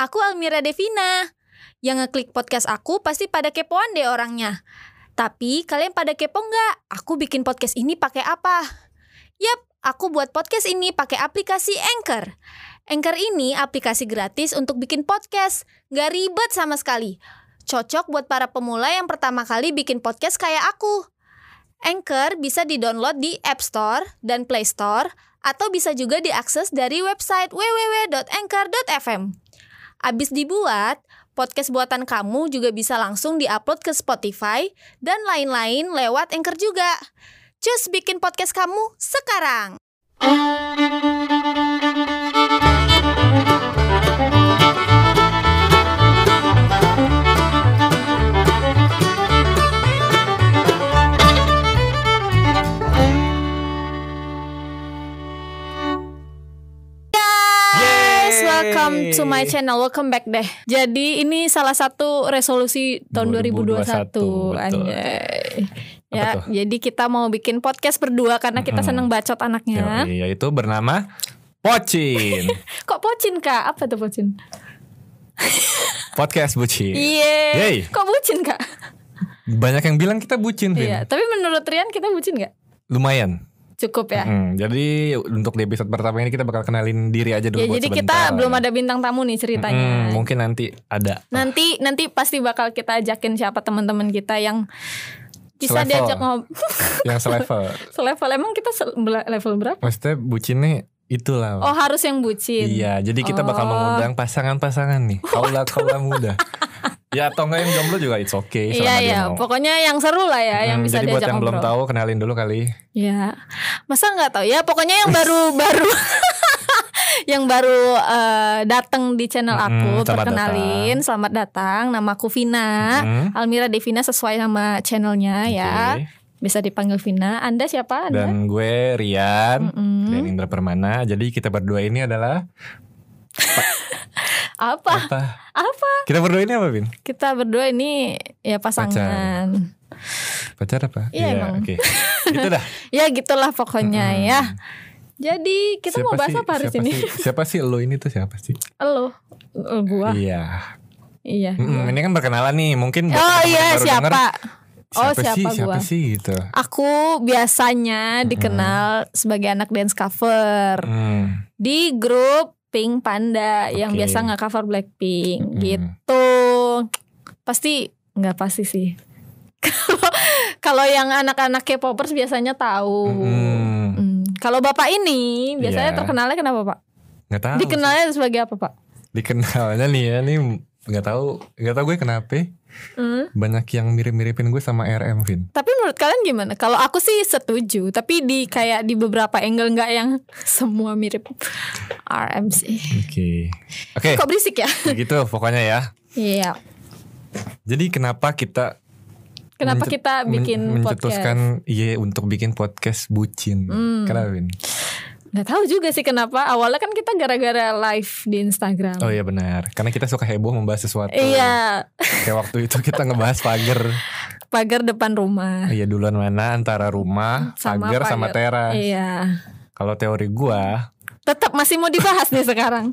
Aku Almira Devina. Yang ngeklik podcast aku pasti pada kepoan deh orangnya. Tapi kalian pada kepo nggak? Aku bikin podcast ini pakai apa? Yap, aku buat podcast ini pakai aplikasi Anchor. Anchor ini aplikasi gratis untuk bikin podcast. Nggak ribet sama sekali. Cocok buat para pemula yang pertama kali bikin podcast kayak aku. Anchor bisa di-download di App Store dan Play Store atau bisa juga diakses dari website www.anchor.fm. Abis dibuat, podcast buatan kamu juga bisa langsung diupload ke Spotify dan lain-lain lewat Anchor juga. Cus bikin podcast kamu sekarang. Guys, welcome to my channel. Welcome back deh. Jadi ini salah satu resolusi tahun 2021, 2021, betul. anjay. Apa Ya, tuh? jadi kita mau bikin podcast berdua karena kita Mm-mm. seneng bacot anaknya. Yoi, yaitu bernama Pocin Kok pocin, Kak? Apa tuh pocin? Podcast Bucin Yey. Iya. Kok bucin, Kak? Banyak yang bilang kita bucin Vin. Iya, tapi menurut Rian kita bucin nggak? Lumayan Cukup ya. Mm, Jadi untuk di episode pertama ini kita bakal kenalin diri aja dulu Ya, buat jadi kita sebentar. belum ada bintang tamu nih Mm, ceritanya. Mungkin nanti ada Nanti nanti pasti bakal kita ajakin siapa teman-teman kita yang bisa Selevel. diajak ngobrol. yang selevel Selevel emang kita se- bela- level berapa? Maksudnya bucinnya itulah Oh, harus yang bucin. Iya jadi kita bakal Oh. mengundang pasangan-pasangan nih Kaula-kaula muda Ya atau enggak yang jomblo juga it's Iya, okay selama dia iya. mau. Pokoknya yang seru lah ya, yang Mm, bisa Jadi diajak buat yang belum ngobrol. tahu kenalin dulu kali Ya, masa nggak tahu ya? Pokoknya yang baru baru yang baru eh, datang di channel aku Mm, selamat perkenalin, selamat datang. Nama aku Vina, Mm, Almira Devina sesuai nama channelnya ya. oke. Bisa dipanggil Vina. Anda siapa? Anda? Dan gue Rian Mm-mm. dan Indra Permana. Jadi kita berdua ini adalah Apa? apa? Apa? Kita berdua ini apa, Bin? Kita berdua ini ya pasangan. Pacar apa? Iya, emang. oke. Itu dah. Ya gitulah pokoknya Mm-mm. ya. Jadi kita mau bahas sih, apa hari siapa ini? Sih, siapa sih lo ini tuh siapa sih? Lo, Eh, gua. Iya. Iya. Mm, ini kan berkenalan nih, mungkin buat Oh teman-teman iya baru siapa? denger, oh siapa siapa, sih? gua? Siapa sih gitu. Aku biasanya dikenal sebagai anak dance cover Mm, di grup Pink Panda yang Oke. biasa nggak cover Blackpink Mm-mm. gitu. Pasti nggak pasti sih. Kalau- Kalau yang anak-anak K-popers biasanya tahu. Mm-mm. Mm. Kalau bapak ini biasanya Hmm. Iya. terkenalnya kenapa pak? Nggak tahu. sih. Dikenalnya sebagai apa pak? Dikenalnya nih ya, nih nggak tahu, nggak tahu gue kenapa Mm. banyak yang mirip-miripin gue sama RM Vin. Tapi menurut kalian gimana? Kalau aku sih setuju, tapi di kayak di beberapa angle nggak yang semua mirip RM sih. Oke. Oke, Kok berisik ya? begitu pokoknya ya. Iya. Jadi kenapa kita Kenapa mencet- kita men- bikin mencetuskan podcast? iya untuk bikin podcast bucin? Hmm. Kenapa Win? Gak tahu juga sih kenapa. Awalnya kan kita gara-gara live di Instagram. Oh iya benar, karena kita suka heboh membahas sesuatu. Iya, Kayak waktu itu kita ngebahas pagar. pagar depan rumah. Iya duluan mana antara rumah, Sama pagar sama pagar. teras. Iya. Kalau teori gua, Tetap masih mau dibahas nih sekarang.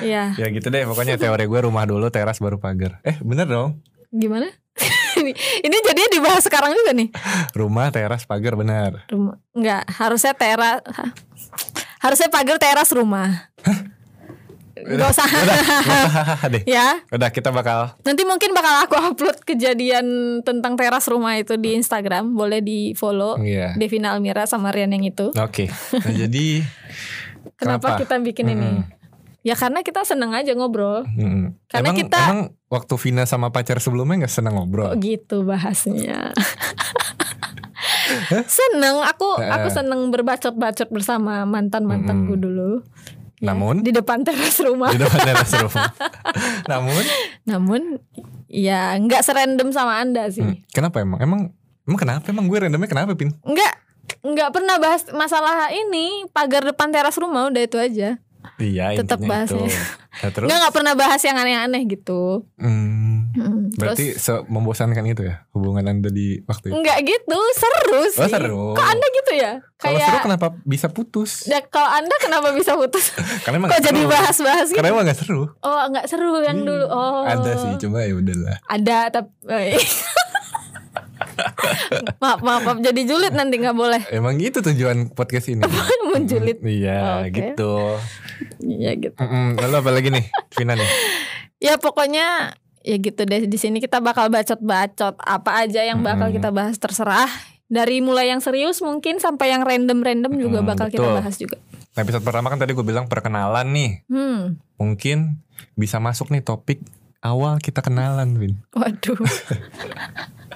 Iya. ya gitu deh pokoknya teori gua rumah dulu, teras baru pagar. Eh bener dong, Gimana? ini, ini jadinya dibahas sekarang juga nih. rumah, teras, pagar benar. Rumah. Enggak, harusnya teras harusnya pagar teras rumah. Gak usah Hahaha Nah, deh. ya. Udah kita bakal Nanti mungkin bakal aku upload kejadian tentang teras rumah itu di Instagram, boleh di-follow. iya. Devina Almira sama Rian yang itu. Oke. Nah, jadi Kenapa, Kenapa? kita bikin ini? Ya karena kita seneng aja ngobrol. Mm-mm. Karena emang, kita- emang waktu Vina sama pacar sebelumnya nggak seneng Kok ngobrol. gitu bahasnya. seneng aku aku Eh. seneng berbacot-bacot bersama mantan-mantanku Mm-mm. dulu. Ya, Namun? di depan teras rumah. di depan teras rumah. Namun, Namun ya nggak serandom sama Anda mm, sih. kenapa emang? Emang emang kenapa? Emang gue randomnya kenapa pin? Nggak nggak pernah bahas masalah ini pagar depan teras rumah udah itu aja. Iya, Tetap intinya itu. bahasnya. Nah, terus, Nggak nggak pernah bahas yang aneh-aneh gitu. mm, Mm. Berarti se- membosankan gitu ya hubungan anda di waktu itu? Enggak gitu, seru sih. Oh seru. Kok Anda gitu ya? Kalau seru Kayak kenapa bisa putus? Ya, kalau Anda kenapa bisa putus? Karena emang Kok nggak jadi seru. bahas-bahas gitu? Karena emang gak seru. Oh, enggak seru yang Hmm, dulu. Oh. Ada sih, cuma ya udahlah. Ada tapi maaf, maaf, maaf jadi julid nanti nggak boleh Emang gitu tujuan podcast ini. menjulit. Mm, Iya, Oh, oke. gitu. Ya gitu. Mm-mm, Lalu apa lagi nih, Vina nih? Ya pokoknya ya gitu deh di sini kita bakal bacot-bacot apa aja yang bakal Mm-mm. kita bahas terserah. Dari mulai yang serius mungkin sampai yang random-random juga Mm, bakal kita betul. bahas juga. Nah, episode pertama kan tadi gue bilang perkenalan nih. Hmm. Mungkin bisa masuk nih topik awal kita kenalan, Vin. Waduh.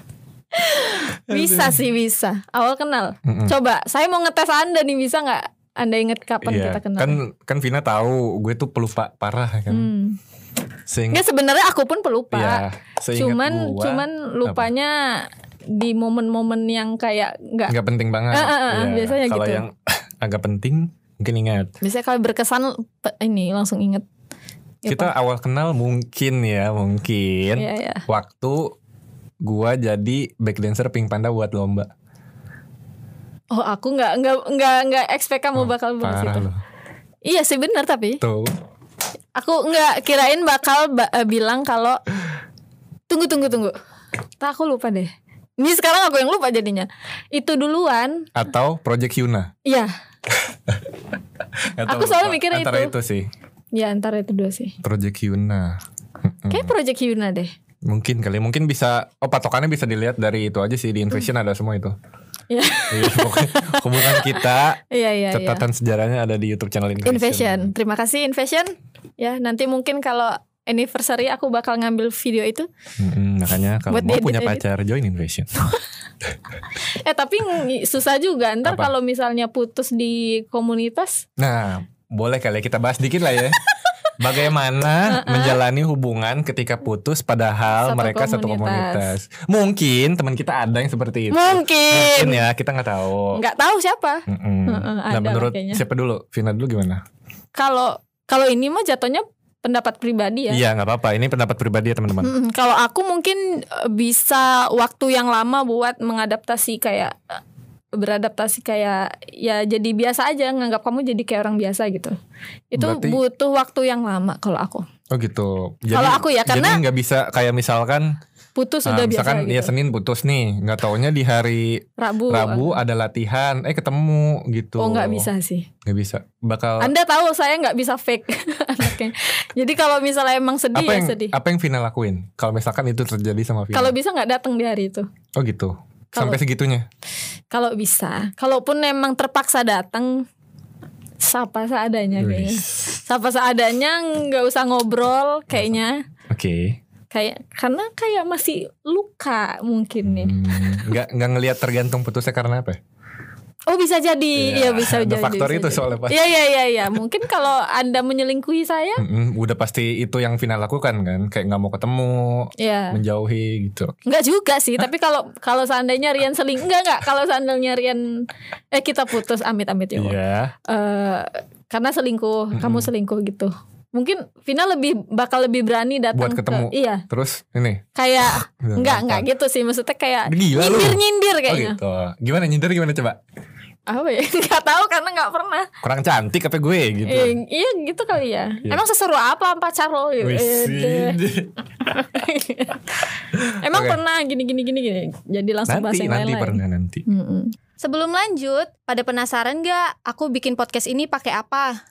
bisa sih bisa. Awal kenal. Mm-mm. Coba saya mau ngetes Anda nih bisa nggak? Anda inget kapan Iya, kita kenal? ya? Kan kan Vina tahu gue tuh pelupa parah kan. Hmm. Seingat Nggak, sebenarnya aku pun pelupa. ya, seingat cuman gua, cuman lupanya di momen-momen yang kayak nggak nggak penting Eh, banget. eh, eh, Iya, biasanya Kalau gitu. yang agak penting mungkin ingat. biasanya kalau berkesan pe- ini langsung inget. Ya, Kita awal kenal mungkin ya, Pak. mungkin Iya, iya. waktu gua jadi backdancer Pink Panda buat lomba. Oh aku nggak nggak nggak nggak expect kamu Oh, bakal bahas Parah itu. loh. Iya sih benar tapi Tuh. aku nggak kirain bakal ba- eh, bilang kalau tunggu tunggu tunggu. Tak aku lupa deh. Ini sekarang aku yang lupa jadinya. Itu duluan. Atau Project Yuna. Iya, Nggak Aku tahu selalu lupa. mikirnya Antara itu. itu sih, ya antara itu dua sih. Project Yuna. Mm-mm. Kayak Project Yuna deh. Mungkin kali, mungkin bisa. Oh patokannya bisa dilihat dari itu aja sih di Invasion ada semua itu. Hmm. Iya. Iya, pokoknya hubungan kita Iya iya iya. catatan sejarahnya ada di YouTube channel Invasion. Invasion. Terima kasih Invasion. Ya, nanti mungkin kalau anniversary aku bakal ngambil video itu. Mm-mm, makanya kalau Buat mau diedit-edit. punya pacar join Invasion. Eh, tapi ng- susah juga ntar Apa? kalau misalnya putus di komunitas. Nah, boleh kali ya kita bahas dikit lah ya. Bagaimana menjalani hubungan ketika putus padahal Satu mereka satu komunitas. komunitas? Mungkin teman kita ada yang seperti itu. Gitu. Mungkin Mungkin. ya, kita nggak tahu. Nggak tahu siapa. Mm-mm. Heeh, nah, ada menurut kayaknya. siapa dulu? Vina dulu gimana? Kalau kalau ini mah jatuhnya pendapat pribadi ya. Iya, nggak apa-apa. Ini pendapat pribadi ya, teman-teman. Mm-mm. Kalau aku mungkin eh, bisa waktu yang lama buat mengadaptasi kayak eh, beradaptasi kayak ya jadi biasa aja nganggap kamu jadi kayak orang biasa gitu. Itu Berarti- butuh waktu yang lama kalau aku. Oh gitu. Kalau aku ya, karena- jadi nggak bisa kayak misalkan, Putus nah, sudah biasa misalkan gitu. ya Senin putus nih, nggak taunya di hari Rabu. Rabu ada latihan, eh ketemu gitu. uh. Oh nggak bisa sih. Nggak bisa. Bakal Anda tahu saya nggak bisa fake anaknya. Jadi kalau misalnya emang sedih apa ya yang sedih. apa yang Vina lakuin? Kalau misalkan itu terjadi sama Vina. Kalau bisa nggak datang di hari itu. oh gitu. Kalau- Sampai segitunya. Kalau bisa, kalaupun emang terpaksa datang, sapa seadanya kayaknya. Wis. Sapa seadanya, nggak usah ngobrol kayaknya. Oke. Kayak karena kayak masih luka mungkin ya. nih. Hmm, Nggak nggak ngelihat tergantung putusnya karena apa? ya? Oh bisa jadi, ya, Iya, bisa ada jadi. faktor bisa itu jadi. soalnya, Pak. Iya iya iya iya. Mungkin kalau anda menyelingkuhi saya, Mm-mm, udah pasti itu yang Vina lakukan kan, kayak nggak mau ketemu, ya. menjauhi gitu. Enggak juga sih, tapi kalau kalau seandainya Rian seling enggak enggak, kalau seandainya Rian eh kita putus amit-amit ya. Iya. Allah. Eh, karena selingkuh, kamu Mm-mm. selingkuh gitu. Mungkin Vina lebih bakal lebih berani datang Buat ketemu. Ah, ke iya, Terus ini. kayak udah enggak gampang. enggak gitu sih, maksudnya kayak Gila lu. nyindir-nyindir Oh kayaknya. gitu. Gimana nyindir gimana coba? Apa ya? Enggak tahu karena enggak pernah. Kurang cantik apa gue gitu. Eh, iya gitu kali ya. Iya. Emang seseru apa pacar lo gitu. Wih, Eh, deh. sih. Emang Oke. pernah gini gini gini gini. Jadi langsung bahas nanti yang nanti lain-lain. pernah nanti. Mm-mm. Sebelum lanjut, pada penasaran nggak aku bikin podcast ini pakai apa?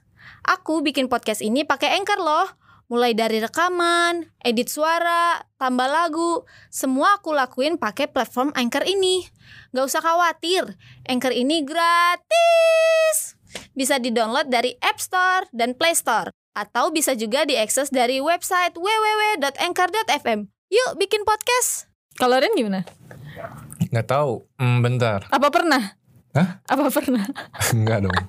Aku bikin podcast ini pakai Anchor loh. Mulai dari rekaman, edit suara, tambah lagu, semua aku lakuin pakai platform Anchor ini. Nggak usah khawatir, Anchor ini gratis. Bisa di-download dari App Store dan Play Store. Atau bisa juga diakses dari website www.anchor.fm. Yuk bikin podcast! Kalau Rian gimana? Nggak tahu. Hmm, bentar. Apa pernah? Hah? Apa pernah? Enggak dong.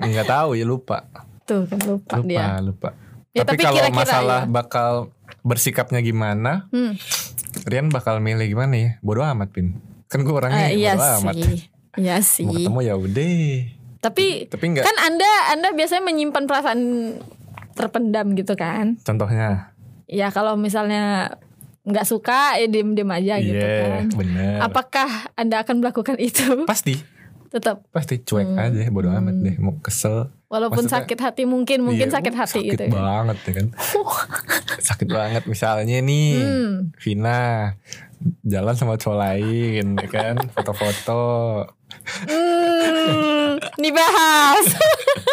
Nggak tahu ya lupa. Tuh kan lupa, Lupa, dia. lupa. Ya, tapi tapi kalau kira-kira masalah ya. bakal bersikapnya gimana, Hmm. Rian bakal milih gimana ya? Bodoh amat, Pin. Kan gue orangnya Eh, iya bodoh amat. sih. Iya sih. Mau ketemu ya udah. Tapi Tapi enggak kan Anda Anda biasanya menyimpan perasaan terpendam gitu kan. contohnya. Ya kalau misalnya nggak suka ya diem diem aja Iya, gitu kan bener. apakah anda akan melakukan itu Pasti, tetap pasti cuek Hmm. aja, bodo amat Hmm. deh, mau kesel. walaupun Maksudnya- sakit hati mungkin mungkin Iya, sakit hati sakit gitu ya. banget ya kan. sakit banget misalnya nih. Hmm. Vina jalan sama cowok lain ya kan foto-foto Hmm, dibahas.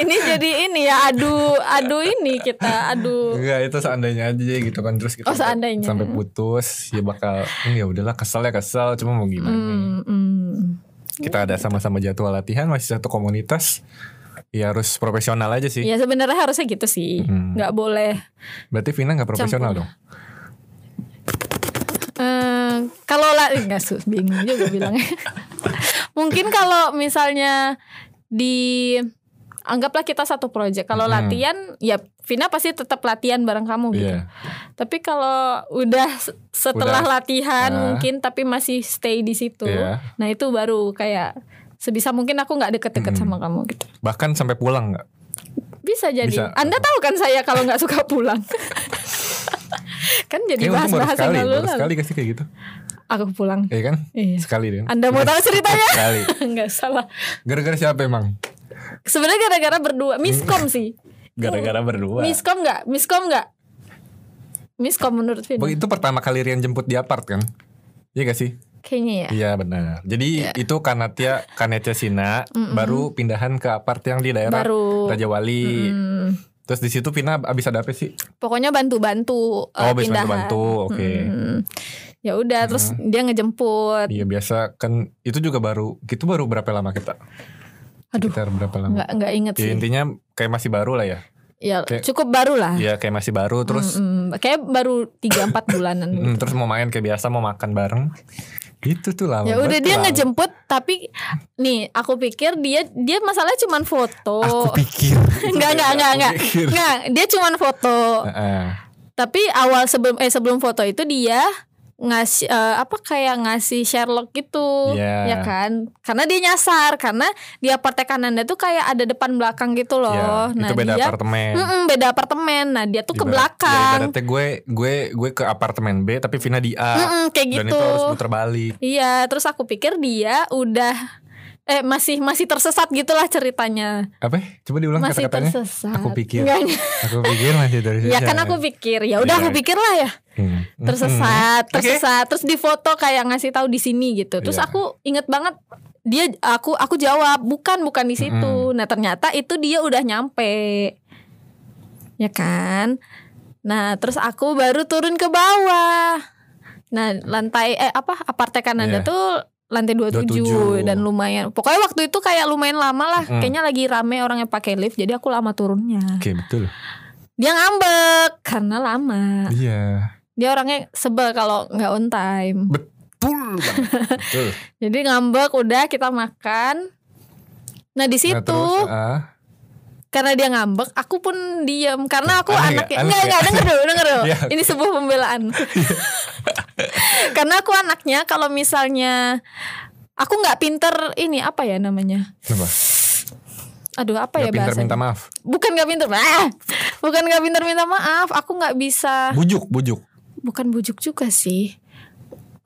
ini jadi ini ya adu adu ini kita adu. enggak itu seandainya aja gitu kan terus kita Oh, seandainya. sampai putus ya bakal "Hmm, ya udahlah kesel ya kesel cuma mau gimana Hmm, hmm. kita ada sama-sama jadwal latihan masih satu komunitas ya harus profesional aja sih Ya sebenarnya harusnya gitu sih. Iya. Hmm. nggak boleh. berarti Vina nggak profesional Campur. dong Eh, kalau lah enggak sus bingung juga bilangnya. Mungkin kalau misalnya di anggaplah kita satu project. Kalau Mm-mm. latihan ya Vina pasti tetap latihan bareng kamu gitu. iya Tapi kalau udah se- setelah Udah. latihan Ah. mungkin tapi masih stay di situ. Iya. Nah, itu baru kayak sebisa mungkin aku nggak deket-deket sama Mm-mm. kamu gitu. bahkan sampai pulang nggak Bisa jadi. Bisa. Anda tahu kan saya kalau nggak suka pulang. kan jadi Kayaknya untung baru bahas-bahas yang sekali baru lalu-lalu. sekali kasih kayak gitu Aku pulang. ya kan Iya. sekali deh Anda mau tahu ceritanya? sekali Enggak salah. gara-gara siapa emang Sebenarnya gara-gara berdua miskom sih. gara-gara berdua Miskom nggak? Miskom nggak? Miskom menurut Vina. Bang, Oh, itu pertama kali Rian jemput di apart kan? Iya gak sih? Kayaknya ya. Iya benar. Jadi itu karena Tia karena Tia Sina baru pindahan ke apart yang di daerah Baru. Raja Wali. Hmm. Terus di situ Pina abis ada apa sih? pokoknya bantu-bantu eh, Oh, abis pindahan. bantu-bantu, oke. Hmm. Ya udah terus dia ngejemput. Iya biasa kan itu juga baru. Itu baru berapa lama kita? Aduh, Sekitar berapa lama? nggak nggak inget Ya sih. intinya kayak masih baru lah ya. Ya kayak- cukup baru lah. Iya kayak masih baru. Terus Mm-mm. kayak baru 3 4 bulanan. mm, terus mau main kayak biasa mau makan bareng. Itu tuh lama. Ya udah banget, dia lama. ngejemput tapi nih aku pikir dia dia masalahnya cuman foto. Aku pikir. Enggak enggak enggak Aku enggak. pikir. Enggak, dia cuman foto. Heeh. Tapi awal sebelum eh sebelum foto itu dia ngasih eh, apa kayak ngasih Sherlock gitu Iya. ya kan karena dia nyasar karena di apartemen anda tuh kayak ada depan belakang gitu loh Iya, nah itu beda dia apartemen. Mm-mm, beda apartemen nah dia tuh ke Ibarat- belakang ya ibaratnya gue gue gue ke apartemen B tapi Vina di A. Mm-mm, kayak Dan gitu itu harus putar balik. iya terus aku pikir dia udah eh masih masih tersesat gitulah ceritanya Apa? ya? Coba diulang masih kata-katanya. tersesat Aku pikir. Nggak, nggak. Aku pikir masih dari ya kan aku pikir ya udah Iya. aku pikir lah ya Hmm. tersesat, Oke. tersesat, terus di foto kayak ngasih tahu di sini gitu. Terus Iya. aku inget banget dia aku aku jawab bukan bukan di situ. Mm-mm. Nah ternyata itu dia udah nyampe, ya kan? Nah terus aku baru turun ke bawah. Nah lantai eh apa apartemen anda Iya. tuh lantai 27, 27. dan lumayan. Pokoknya waktu itu kayak lumayan lama lah. Mm. Kayaknya lagi rame orang yang pakai lift, jadi aku lama turunnya. Oke betul. Dia ngambek karena lama Iya. dia orangnya sebel kalau nggak on time Betul. banget. betul. jadi ngambek udah kita makan nah di Nah, situ terus, ah, karena dia ngambek aku pun diem karena aku Nah, Aneh anaknya nggak? Aneh nggak nggak denger dulu denger dulu Iya. ini sebuah pembelaan karena aku anaknya kalau misalnya aku nggak pinter ini apa ya namanya kenapa? aduh apa Nggak ya pintar bahasanya minta maaf. bukan nggak pinter ah! bukan nggak pinter minta maaf aku nggak bisa Bujuk, bujuk. bukan bujuk juga sih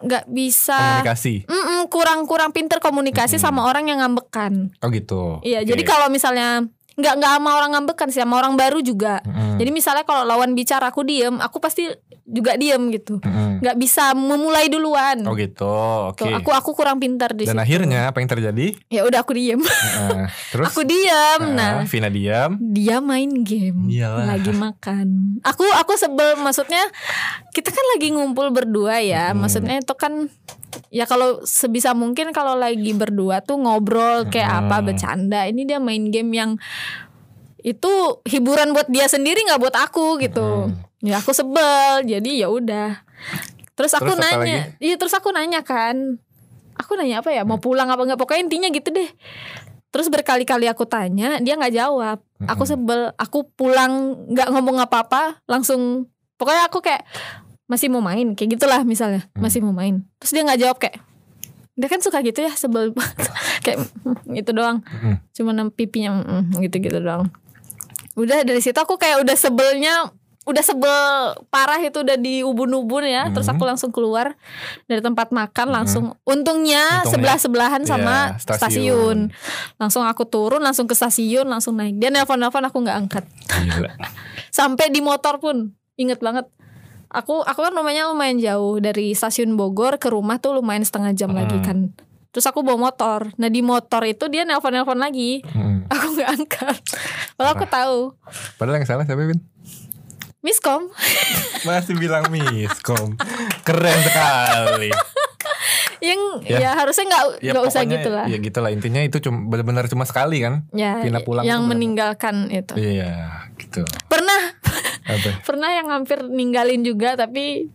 nggak bisa Komunikasi. Mm-mm, kurang-kurang pinter komunikasi sama orang yang ngambekan. Oh gitu. Iya, Oke. jadi kalau misalnya nggak nggak sama orang ngambekan sih, sama orang baru juga. Mm-mm. Jadi misalnya kalau lawan bicara aku diem, aku pasti juga diem gitu. Mm-mm. Nggak bisa memulai duluan. Oh gitu. Oke. Tuh, aku aku kurang pinter di situ. Dan akhirnya apa yang terjadi? Ya udah aku diem. Heeh. Eh, terus aku diem. Nah, ah, Vina diam. dia main game Iyalah. lagi makan. Aku aku sebel maksudnya kita kan lagi ngumpul berdua ya. Mm-mm. Maksudnya itu kan ya kalau sebisa mungkin kalau lagi berdua tuh ngobrol kayak Mm-mm. apa bercanda. Ini dia main game yang itu hiburan buat dia sendiri nggak buat aku gitu. Ya aku sebel. Jadi ya udah. Terus aku Terus apa nanya, iya terus aku nanya kan. Aku nanya apa ya? Mau pulang apa nggak? Pokoknya intinya gitu deh. Terus berkali-kali aku tanya, dia nggak jawab aku Mm-mm. sebel aku pulang nggak ngomong apa-apa langsung pokoknya aku kayak masih mau main kayak gitulah misalnya Hmm. masih mau main terus dia nggak jawab kayak dia kan suka gitu ya sebel banget." kayak "Mm, gitu doang Mm-mm. cuma pipinya gitu gitu doang udah dari situ aku kayak udah sebelnya udah sebel parah itu udah di ubun-ubun ya terus Mhm. aku langsung keluar dari tempat makan Mhm. langsung untungnya Untungnya. sebelah sebelahan sama Iya, stasiun. langsung aku turun laung ke stasiun langsung naik dia nelfon nelfon aku nggak angkat Gila. sampai di motor pun inget banget aku aku kan rumahnya lumayan jauh dari stasiun Bogor ke rumah tuh lumayan setengah jam lagi Hmm. kan terus aku bawa motor nah di motor itu dia nelpon nelpon lagi Mm. aku nggak angkat kalau aku tahu Padahal yang salah siapa Bin? miskom Masih bilang miskom. Keren sekali. yang Ya. ya, harusnya nggak nggak usah pokoknya gitu lah Ya gitu lah intinya itu cuma benar-benar cuma sekali kan. ya pindah pulang tuh yang bener-bener. meninggalkan itu Iya, gitu. pernah Apa? pernah yang hampir ninggalin juga tapi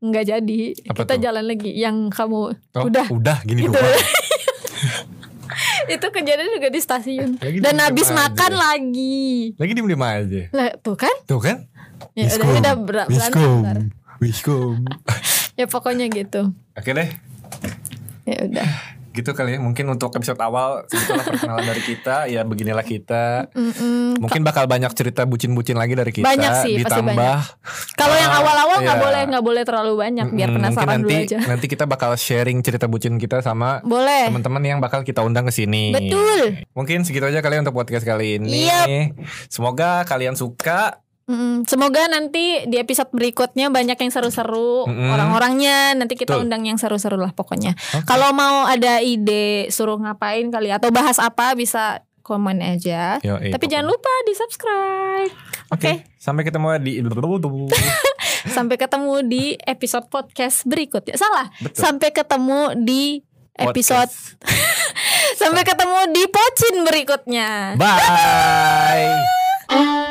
nggak jadi Apa kita tuh? jalan lagi yang kamu Oh, udah udah gini Gitu. doang. itu kejadian juga di stasiun Lagi dan diem-diem habis Ya gitu, aja. makan lagi Lagi diem-diem aja. lah tuh kan Tuh kan? ya udah Miskom. udah ber- berantem Miskom. ntar. Miskom. ya pokoknya gitu Oke deh. ya udah Gitu kali ya. Mungkin untuk episode awal sebetulnya perkenalan dari kita, ya beginilah kita. Mm-mm. Mungkin bakal banyak cerita bucin-bucin lagi dari kita Banyak sih, pasti ditambah kalau yang Ah, awal-awal nggak iya. boleh nggak boleh terlalu banyak Kan biar Mm, penasaran mungkin dulu nanti aja nanti kita bakal sharing cerita bucin kita sama boleh teman-teman yang bakal kita undang ke sini. betul Mungkin segitu aja kali untuk podcast kali ini. Semoga kalian suka. Mm-mm. Semoga nanti di episode berikutnya banyak yang seru-seru Mm-mm. orang-orangnya. Nanti kita Betul. undang yang seru-seru lah pokoknya. Oke. Kalau mau ada ide suruh ngapain kali atau bahas apa bisa komen aja. Yoi, Tapi jangan lupa di subscribe. pokoknya. Oke. Sampai ketemu di Sampai ketemu di episode podcast berikutnya. Salah. Betul. Sampai ketemu di episode. Sampai ketemu di pocin berikutnya. Bye.